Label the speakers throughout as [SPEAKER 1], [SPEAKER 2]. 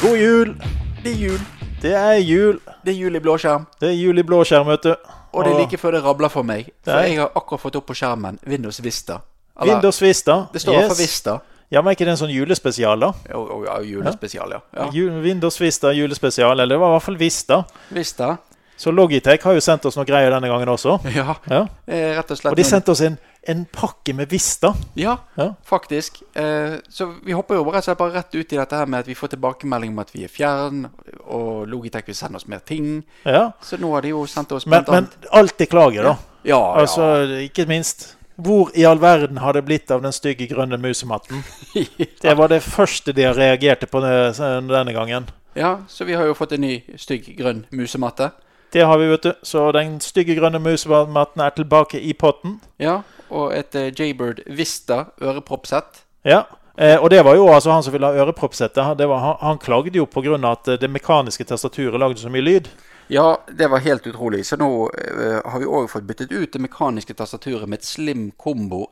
[SPEAKER 1] God jul!
[SPEAKER 2] Det er jul.
[SPEAKER 1] Det er jul.
[SPEAKER 2] Det er jul i blåskjerm.
[SPEAKER 1] Det er jul i blå skjerm, vet du.
[SPEAKER 2] Og det er like før det rabler for meg. For
[SPEAKER 1] Nei.
[SPEAKER 2] jeg har akkurat fått opp på skjermen Windows Vista. Eller,
[SPEAKER 1] Windows Vista.
[SPEAKER 2] Det står i hvert fall Vista.
[SPEAKER 1] Ja, men er ikke det en sånn julespesial, da?
[SPEAKER 2] Jo, jo, ja, julespesial, ja. ja.
[SPEAKER 1] Ju- Windows Vista julespesial, eller det var i hvert fall Vista.
[SPEAKER 2] Vista.
[SPEAKER 1] Så Logitech har jo sendt oss noen greier denne gangen også.
[SPEAKER 2] Ja,
[SPEAKER 1] Ja.
[SPEAKER 2] eh, rett og slett.
[SPEAKER 1] Og de
[SPEAKER 2] noen-
[SPEAKER 1] sendte oss en, en pakke med Vista.
[SPEAKER 2] Ja,
[SPEAKER 1] Ja.
[SPEAKER 2] faktisk. Eh, så vi hopper jo rett og slett bare rett ut i dette her med at vi får tilbakemelding om at vi er fjern, og Logitech vil sende oss mer ting.
[SPEAKER 1] Ja.
[SPEAKER 2] Så nå har de jo sendt oss
[SPEAKER 1] Men,
[SPEAKER 2] blant
[SPEAKER 1] men
[SPEAKER 2] annet
[SPEAKER 1] alltid klager, da.
[SPEAKER 2] Ja, ja.
[SPEAKER 1] Altså, ikke minst. Hvor i all verden har det blitt av den stygge grønne musematten? Det var det første de reagerte på det- denne gangen.
[SPEAKER 2] ja, så vi har jo fått en ny stygg grønn musematte.
[SPEAKER 1] Det har vi, vet du. Så den stygge grønne musematten er tilbake i potten.
[SPEAKER 2] Ja, og et eh, Jaybird Vista øreproppsett.
[SPEAKER 1] Ja. Eh, og det var jo altså han som ville ha øreproppsette. Han, det var, han, han klagde jo pga. at eh, det mekaniske tastaturet lagde så mye lyd.
[SPEAKER 2] Ja, det var helt utrolig. Så nå eh, har vi òg fått byttet ut det mekaniske tastaturet med et Slim Combo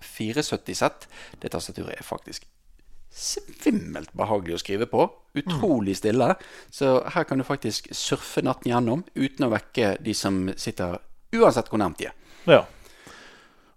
[SPEAKER 2] MK470-sett. Det tastaturet er faktisk svimmelt behagelig å skrive på. Utrolig stille. Så her kan du faktisk surfe natten gjennom uten å vekke de som sitter Uansett hvor nærmt de er.
[SPEAKER 1] Ja.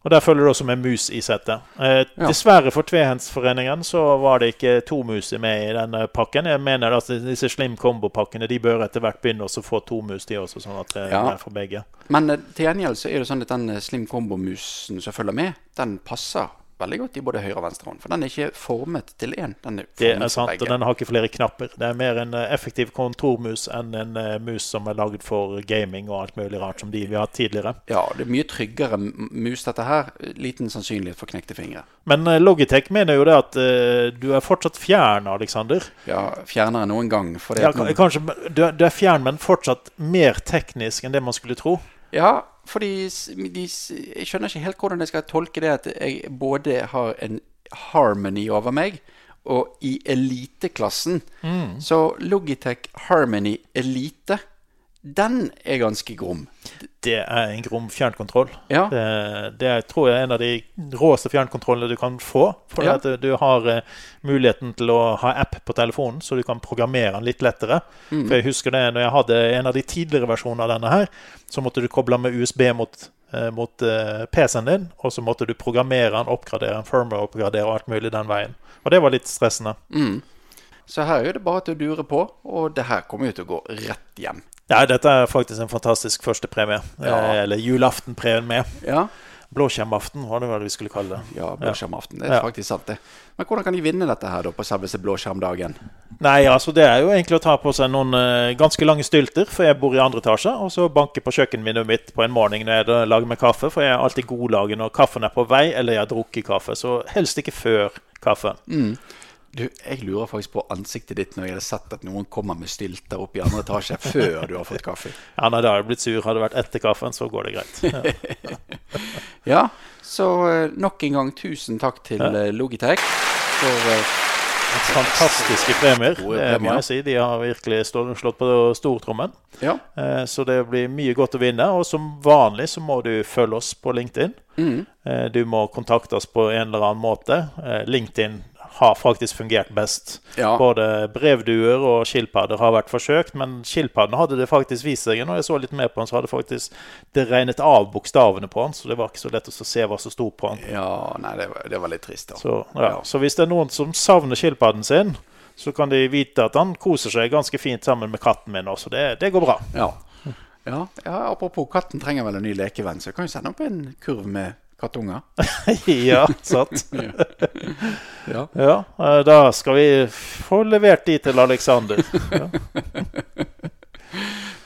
[SPEAKER 1] Og der følger det også med mus i settet. Eh,
[SPEAKER 2] Ja.
[SPEAKER 1] Dessverre for Tvehendsforeningen så var det ikke to mus med i denne pakken. Jeg mener at disse Slim Combo-pakkene de bør etter hvert begynne også å få to mus, de også, sånn at det
[SPEAKER 2] Ja.
[SPEAKER 1] er for begge.
[SPEAKER 2] Men eh, til gjengjeld så er det sånn at den eh, Slim Combo-musen som følger med, den passer veldig godt i både høyre og venstre hånd. For den er ikke formet til én. Den er formet
[SPEAKER 1] Det er
[SPEAKER 2] til
[SPEAKER 1] sant, og
[SPEAKER 2] begge.
[SPEAKER 1] den har ikke flere knapper. Det er mer en eh, effektiv kontormus enn en eh, mus som er lagd for gaming og alt mulig rart som de vi har hatt tidligere.
[SPEAKER 2] Ja, det er mye tryggere m- mus dette her. Liten sannsynlighet for knekte fingre.
[SPEAKER 1] Men eh, Logitech mener jo det at eh, du er fortsatt fjern, Alexander.
[SPEAKER 2] Ja, fjernere enn noen gang. For det
[SPEAKER 1] Ja,
[SPEAKER 2] at man-
[SPEAKER 1] kanskje, du, er- du er fjern, men fortsatt mer teknisk enn det man skulle tro.
[SPEAKER 2] ja fordi s- de, s- jeg skjønner ikke helt hvordan jeg skal tolke det at jeg både har en harmony over meg, og i eliteklassen.
[SPEAKER 1] Mm.
[SPEAKER 2] Så Logitech Harmony Elite, den er ganske grom.
[SPEAKER 1] Det er en grom fjernkontroll.
[SPEAKER 2] Ja.
[SPEAKER 1] Det, Eh, det er, tror jeg er en av de råeste fjernkontrollene du kan få. For
[SPEAKER 2] Ja.
[SPEAKER 1] at du har eh, muligheten til å ha app på telefonen, så du kan programmere den litt lettere. For jeg husker det når jeg hadde en av de tidligere versjonene av denne her, så måtte du koble den med USB mot, eh, mot eh, PC-en din, og så måtte du programmere den, oppgradere den, firmware-oppgradere og alt mulig den veien. Og det var litt stressende.
[SPEAKER 2] Mm. Så her er det bare til å dure på, og det her kommer jo til å gå rett hjem.
[SPEAKER 1] Nei, dette er faktisk en fantastisk førstepremie.
[SPEAKER 2] Ja.
[SPEAKER 1] Eh, eller julaftenpremie.
[SPEAKER 2] Ja,
[SPEAKER 1] Blåskjermaften var det vel vi skulle kalle det.
[SPEAKER 2] ja blåskjermaften. Det er
[SPEAKER 1] Ja.
[SPEAKER 2] faktisk sant, det. Men hvordan kan de vinne dette her da på selveste blåskjermdagen?
[SPEAKER 1] Nei, altså det er jo egentlig å ta på seg noen eh, ganske lange stylter, for jeg bor i andre etasje, og så banke på kjøkkenvinduet mitt på en morgen når jeg da lager meg kaffe, for jeg er alltid godlagen når kaffen er på vei, eller jeg har drukket kaffe, så helst ikke før kaffen.
[SPEAKER 2] Mm. Du, jeg lurer faktisk på ansiktet ditt når jeg hadde sett at noen kommer med stylter opp i andre etasje før du har fått kaffe.
[SPEAKER 1] Ja, nei, da har jeg blitt sur. Hadde det vært etter kaffen, så går det greit. Ja.
[SPEAKER 2] Ja, så eh, nok en gang tusen takk til eh, Logitech for eh,
[SPEAKER 1] Fantastiske premier,
[SPEAKER 2] Gode
[SPEAKER 1] det må
[SPEAKER 2] premier.
[SPEAKER 1] jeg si. De har virkelig stå- slått på stortrommen.
[SPEAKER 2] Ja,
[SPEAKER 1] Eh, Så det blir mye godt å vinne. Og som vanlig så må du følge oss på LinkedIn.
[SPEAKER 2] Mm.
[SPEAKER 1] Eh, Du må kontakte oss på en eller annen måte. Eh, LinkedIn har faktisk fungert best.
[SPEAKER 2] Ja.
[SPEAKER 1] Både brevduer og skilpadder har vært forsøkt, men skilpadden hadde det faktisk vist seg. Når jeg så litt mer på den, så hadde faktisk det regnet av bokstavene på den, så det var ikke så lett å se hva som sto på den.
[SPEAKER 2] ja nei, det var, det var litt trist, da.
[SPEAKER 1] Så, ja. så hvis det er noen som savner skilpadden sin, så kan de vite at han koser seg ganske fint sammen med katten min også. Det, det går bra.
[SPEAKER 2] Ja. Ja, ja, apropos katten trenger vel en ny lekevenn, så kan vi sende opp en kurv med kattunger.
[SPEAKER 1] ja, sant.
[SPEAKER 2] Ja.
[SPEAKER 1] Ja, eh, da skal vi få levert de til Alexander. Ja.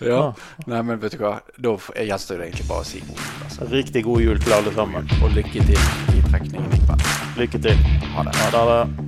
[SPEAKER 2] Ja. Ah. Nei, men vet du hva, da f- jeg gjenstår det egentlig bare å si god altså. jul, altså.
[SPEAKER 1] Riktig god jul til alle sammen.
[SPEAKER 2] Og lykke til i trekningen i kveld.
[SPEAKER 1] Lykke til.
[SPEAKER 2] Ha det.
[SPEAKER 1] Ha det.